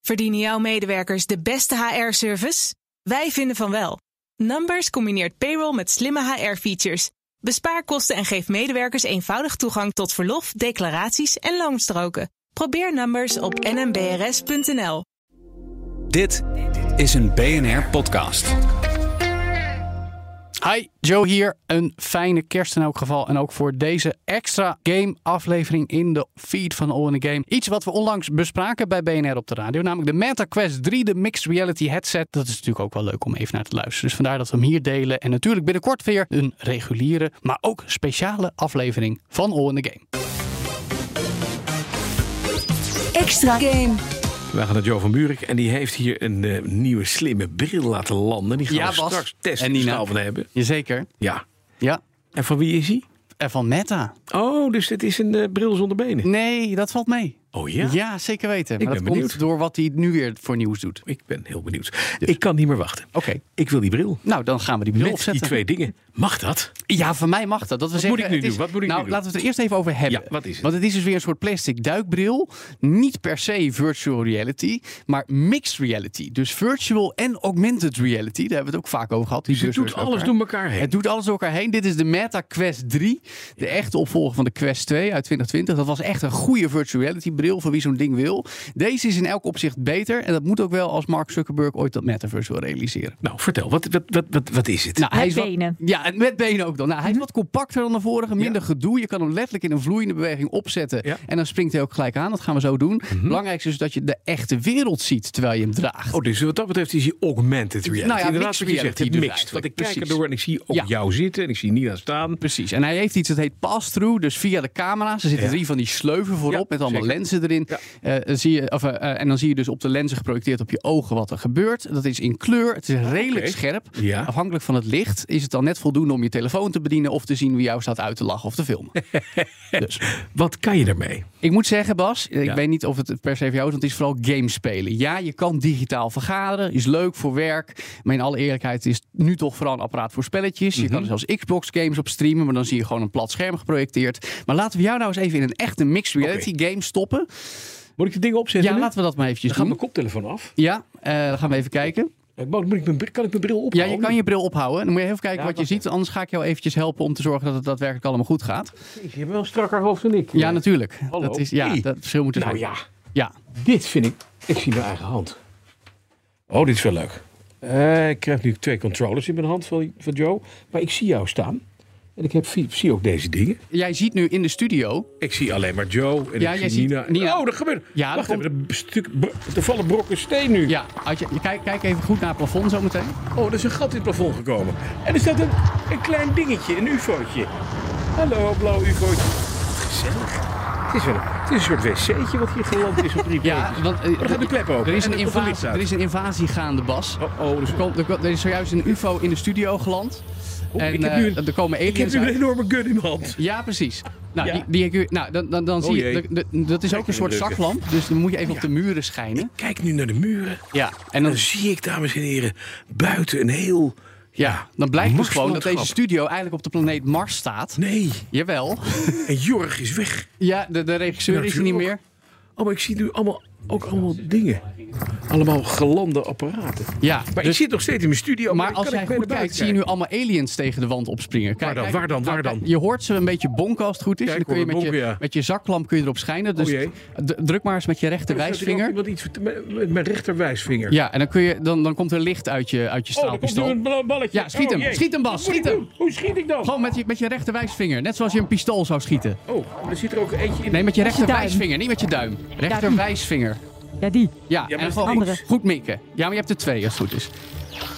Verdienen jouw medewerkers de beste HR-service? Wij vinden van wel. Numbers combineert payroll met slimme HR-features. Bespaar kosten en geef medewerkers eenvoudig toegang tot verlof, declaraties en loonstroken. Probeer Numbers op nmbrs.nl. Dit is een BNR-podcast. Hi, Joe hier. Een fijne kerst in elk geval. En ook voor deze extra game-aflevering in de feed van All in the Game. Iets wat we onlangs bespraken bij BNR op de radio. Namelijk de Meta Quest 3, de mixed reality headset. Dat is natuurlijk ook wel leuk om even naar te luisteren. Dus vandaar dat we hem hier delen. En natuurlijk binnenkort weer een reguliere, maar ook speciale aflevering van All in the Game. Extra game. Wij gaan naar Joe van Buurik en die heeft hier een eh, nieuwe slimme bril laten landen. Die gaan Ja, we Bas. straks testen En of we Nina. snel van hebben. Jazeker. Ja. Ja. En van wie is hij? En van Meta. Oh, dus dit is een eh, bril zonder benen. Nee, dat valt mee. Oh Ja, ja. zeker weten. Ik maar dat ben benieuwd. komt door wat hij nu weer voor nieuws doet. Ik ben heel benieuwd. Ik kan niet meer wachten. Oké. Ik wil die bril. Nou, dan gaan we die bril Met die opzetten. twee dingen. Mag dat? Ja, van mij mag dat. dat we zeggen, moet ik nu het is- doen? Wat moet ik nou, nu doen? laten we het er eerst even over hebben. Ja, wat is het? Want het is dus weer een soort plastic duikbril. Niet per se virtual reality, maar mixed reality. Dus virtual en augmented reality. Daar hebben we het ook vaak over gehad. Die Dus Het buzzwords doet alles elkaar. door elkaar heen. Het doet alles door elkaar heen. Dit is de Meta Quest 3. De echte opvolger van de Quest 2 uit 2020. Dat was echt een goede virtuality bril voor wie zo'n ding wil. Deze is in elk opzicht beter. En dat moet ook wel als Mark Zuckerberg ooit dat metaverse wil realiseren. Nou, vertel. Wat, wat, wat, wat, wat is het? Nou, Met hij is wat- benen. Mhm. ja, en met benen ook dan. Nou, hij is wat compacter dan de vorige, minder gedoe. Je kan hem letterlijk in een vloeiende beweging opzetten. Ja. En dan springt hij ook gelijk aan. Dat gaan we zo doen. Belangrijkste is dus dat je de echte wereld ziet terwijl je hem draagt. Oh, dus wat dat betreft is hij augmented reality. Nou ja, Inderdaad, wat je mixed zegt, reality het dus mixed. eigenlijk. Want ik kijk Precies. erdoor en ik zie ook Ja. jou zitten en ik zie Nina staan. Precies. En hij heeft iets dat heet pass-through. Dus via de camera's. Er zitten Ja. drie van die sleuven voorop Ja, met allemaal zeker. lenzen erin. Ja. Eh, dan zie je, of, eh, eh, en dan zie je dus op de lenzen geprojecteerd op je ogen wat er gebeurt. Dat is in kleur. Het is redelijk Oké. scherp. Ja. Afhankelijk van het licht is het dan net voldoende om je telefoon te bedienen of te zien wie jou staat uit te lachen of te filmen. dus. Wat kan je daarmee? Ik moet zeggen, Bas, ik Ja. weet niet of het per se voor jou is, want het is vooral game spelen. Ja, je kan digitaal vergaderen, is leuk voor werk. Maar in alle eerlijkheid is het nu toch vooral een apparaat voor spelletjes. Mhm. Je kan er zelfs Xbox games op streamen, maar dan zie je gewoon een plat scherm geprojecteerd. Maar laten we jou nou eens even in een echte mixed reality game stoppen. Moet ik de dingen opzetten? Ja, nu? laten we dat maar eventjes Dan gaat mijn doen. koptelefoon af. Ja, eh, dan gaan we even kijken. Eh, Moet ik mijn, bril- kan ik mijn bril Ja, ophouden? je kan je bril ophouden. Dan moet je even kijken Ja, wat je wacht ziet. Anders ga ik jou eventjes helpen om te zorgen dat het daadwerkelijk allemaal goed gaat. Je hebt wel een strakker hoofd dan ik. Ja, natuurlijk. Hallo. Dat is, ja, Hey. dat verschil moet er Nou zijn. ja, Ja. dit vind ik... Ik zie mijn eigen hand. Oh, dit is wel leuk. Eh, ik krijg nu twee controllers in mijn hand van, van Joe. Maar ik zie jou staan. En ik heb, zie, zie ook deze dingen. Jij ziet nu in de studio Ik zie alleen maar Joe en Ja, ik jij zie ziet Nina. Nina. Oh, dat gebeurt. Ja, Wacht dat komt- even, er, stuk, bro- er vallen brokken steen nu. Ja, als je, je kijk, kijk even goed naar het plafond zometeen. Oh, er is een gat in het plafond gekomen. En er staat een, een klein dingetje, een ufootje. Hallo, blauw ufootje. Gezellig. Het is, wel, het is een soort wc'tje wat hier geland is op drie Ja, plekjes. want eh, Maar er gaat de klep open. er is En een er komt een invasie, licht uit. er is een invasie gaande, Bas. Oh, oh, dus Er, komt, er, komt- er is zojuist een UFO in de studio geland. Oeh, en Oh, ik heb nu eh, een- er komen ik heb aliens nu een uit. enorme gun in mijn hand. Ja, precies. Nou, Ja. Oh, die, die heb je- nou dan, dan, dan zie je. jee. de- de- dat is ook een soort in de lucht. zaklamp, dus dan moet je even op de muren schijnen. Kijk nu naar de muren. Ja, en dan, En dan zie ik, dames en heren, buiten een heel... ja, dan blijkt dus gewoon dat Marslandschap. deze studio eigenlijk op de planeet Mars staat. Nee, Jawel. en Jorg is weg. Ja, de, de regisseur is er niet meer. Oh, maar ik zie nu allemaal, ook allemaal dingen. Allemaal gelande apparaten. Ja, Maar ik dus- zit nog steeds in mijn studio. Maar ik als kan jij ik mee goed naar kijkt, buiten zie je nu kijken. allemaal aliens tegen de wand opspringen. Kijk, Waar dan, kijk, waar dan, nou, waar kijk, dan? Je hoort ze een beetje bonken als het goed is. Kijk, en dan kun je hoor, met, je, bonken, ja. met je zaklamp kun je erop schijnen. Dus Oh jee. d- druk maar eens met je rechter Er staat hier ook wijsvinger. Iemand iets met- met met mijn rechterwijsvinger. Ja, en dan, kun je, dan, dan komt er licht uit je, uit je oh, er komt nu straalpistool. een bla- balletje. Ja, schiet Oh, hem, jee. schiet hem, Bas, Wat schiet moet ik hem. doen? Hoe schiet ik dan? Gewoon met je, met je rechter wijsvinger. Net zoals je een pistool zou schieten. Oh, er zit er ook eentje in. Nee, met je rechter duim. wijsvinger, niet met je duim. Rechter Duim. wijsvinger. Ja, die. Ja, maar en is gewoon links. goed mikken. Ja, maar je hebt er twee als het goed is.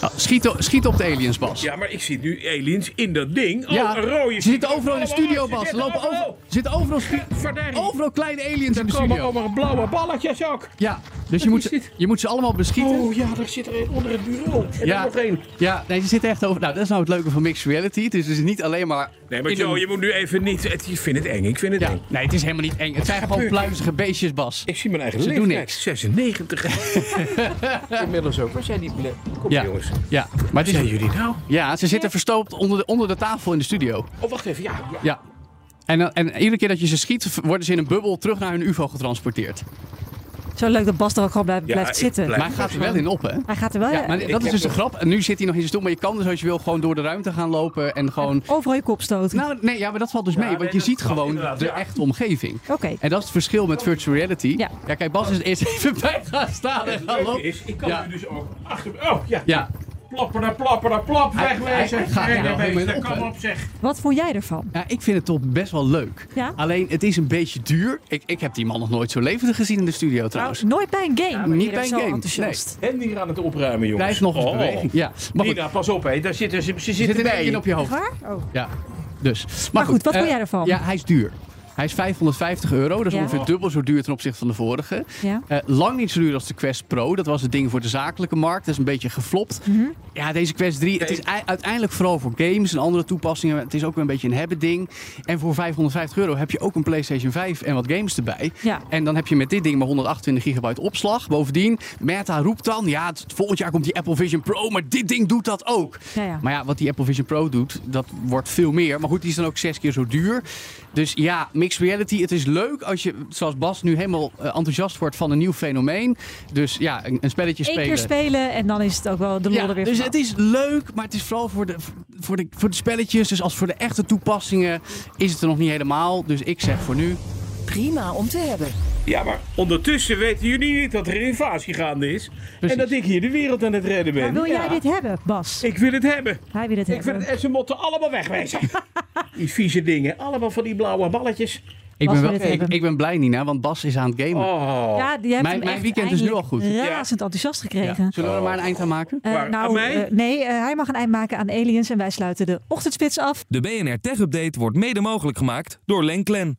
Nou, schiet, o- schiet op de aliens, Bas. Ja, maar ik zit nu aliens in dat ding. Oh, Ja, een rode. ze zitten overal in de studio, Allemaal, Bas. ze Er lopen zitten over, overal. er zitten overal, stu- Verdarie. overal kleine aliens in de Er komen studio. allemaal blauwe balletjes ook. Ja, dus je Wat moet, is ze, dit? je moet ze allemaal beschieten. Oh ja, daar zit er een onder het bureau. En ja, er nog één. ja, nee, ze zitten echt over. Nou, dat is nou het leuke van mixed reality. Het is dus niet alleen maar. Nee, maar in Joe, een- je moet nu even niet... Het, ik vind het eng, ik vind het ja, eng. nee, het is helemaal niet eng. Het zijn gewoon gebeurt hier? pluizige beestjes, Bas. Ik zie mijn eigen Ze doen leeftijd. niks. 96. Inmiddels ook. Waar zijn die... ble- Kom Ja, jongens. ja, maar het Zijn is, jullie nou? ja, ze zitten verstopt onder de, onder de tafel in de studio. Oh, wacht even. Ja, ja. Ja. eh, En, dan- en iedere keer dat je ze schiet, v- worden ze in een bubbel terug naar hun UFO getransporteerd. Zo leuk dat Bas er ook gewoon blijft, Ja, blijft ik zitten. blijf- Maar hij gaat er wel in op, hè? Hij gaat er wel. Ja, maar ik dat is heb dus de nog- grap. En nu zit hij nog in zijn stoel, maar je kan dus als je wil gewoon door de ruimte gaan lopen en gewoon... Overal je kop stoten. Nou, nee, ja, maar dat valt dus mee, nee, want je dat ziet klopt, gewoon inderdaad, de ja. echte omgeving. Oké. En dat is het verschil met virtual reality. Ja. kijk, Bas is er eerst even bij gaan staan en gaan Leuk lopen. is, ik kan Ja. nu dus ook achter... Oh, ja. Ja, Plapper daar, plapper daar, plap. Hij- hij- Wegwezen. hij gaat er wel Wegwezen. helemaal Dat op, kan hè? op, zeg. Wat vond jij ervan? ja, ik vind het toch best wel leuk. Ja? Alleen, het is een beetje duur. Ik, ik heb die man nog nooit zo levendig gezien in de Nou, studio trouwens. Nooit bij een game. niet ben je bij een zo game, Enthousiast. Hending aan het opruimen, jongens. Hij is nog eens Oh. beweging. Ja, maar goed, Nina, pas op, hè. Daar zitten ze, ze er zit zitten een bij beetje je. op je hoofd. Waar? Oh. Ja, dus. Maar, Nou goed, wat eh, vond jij ervan? Ja, hij is duur. Hij is 550 euro, dat is Ja. ongeveer dubbel zo duur ten opzichte van de vorige. Ja. Eh, lang niet zo duur als de Quest Pro. Dat was het ding voor de zakelijke markt. Dat is een beetje geflopt. Mhm. Ja, deze Quest 3. Het is ei- uiteindelijk vooral voor games en andere toepassingen. Het is ook wel een beetje een hebben ding. En voor 550 euro heb je ook een PlayStation 5 en wat games erbij. Ja. En dan heb je met dit ding maar 128 gigabyte opslag. Bovendien, Meta roept dan... Ja, het- volgend jaar komt die Apple Vision Pro, maar dit ding doet dat ook. Ja, ja. Maar ja, wat die Apple Vision Pro doet, dat wordt veel meer. Maar goed, die is dan ook zes keer zo duur. Dus ja, mixed reality. Het is leuk als je, zoals Bas, nu helemaal eh, enthousiast wordt van een nieuw fenomeen. Dus ja, een, een spelletje Eén spelen. keer spelen en dan is het ook wel de lol Ja, er weer dus vanaf. het is leuk, maar het is vooral voor de, voor, de, voor de spelletjes. Dus als voor de echte toepassingen is het er nog niet helemaal. Dus ik zeg voor nu, Prima om te hebben. Ja, maar ondertussen weten jullie niet dat er een invasie gaande is. En dat ik hier de wereld aan het redden ben. Maar wil jij Ja. dit hebben, Bas? Ik wil het hebben. Hij wil het Ik hebben. vind het, en ze moeten allemaal wegwezen. die vieze dingen. Allemaal van die blauwe balletjes. ik ben, Bas wil wel, het ik, hebben. ik ben blij Nina, want Bas is aan het gamen. Oh. ja, die hebt Mijn- hem mijn echt weekend is nu eindelijk al goed. razend enthousiast Ja. gekregen. Zullen we er maar een eind aan maken? Eh, Maar aan nou, mij? eh, nee, eh, hij mag een eind maken aan Aliens en wij sluiten de ochtendspits af. De BNR Tech Update wordt mede mogelijk gemaakt door Lenklen.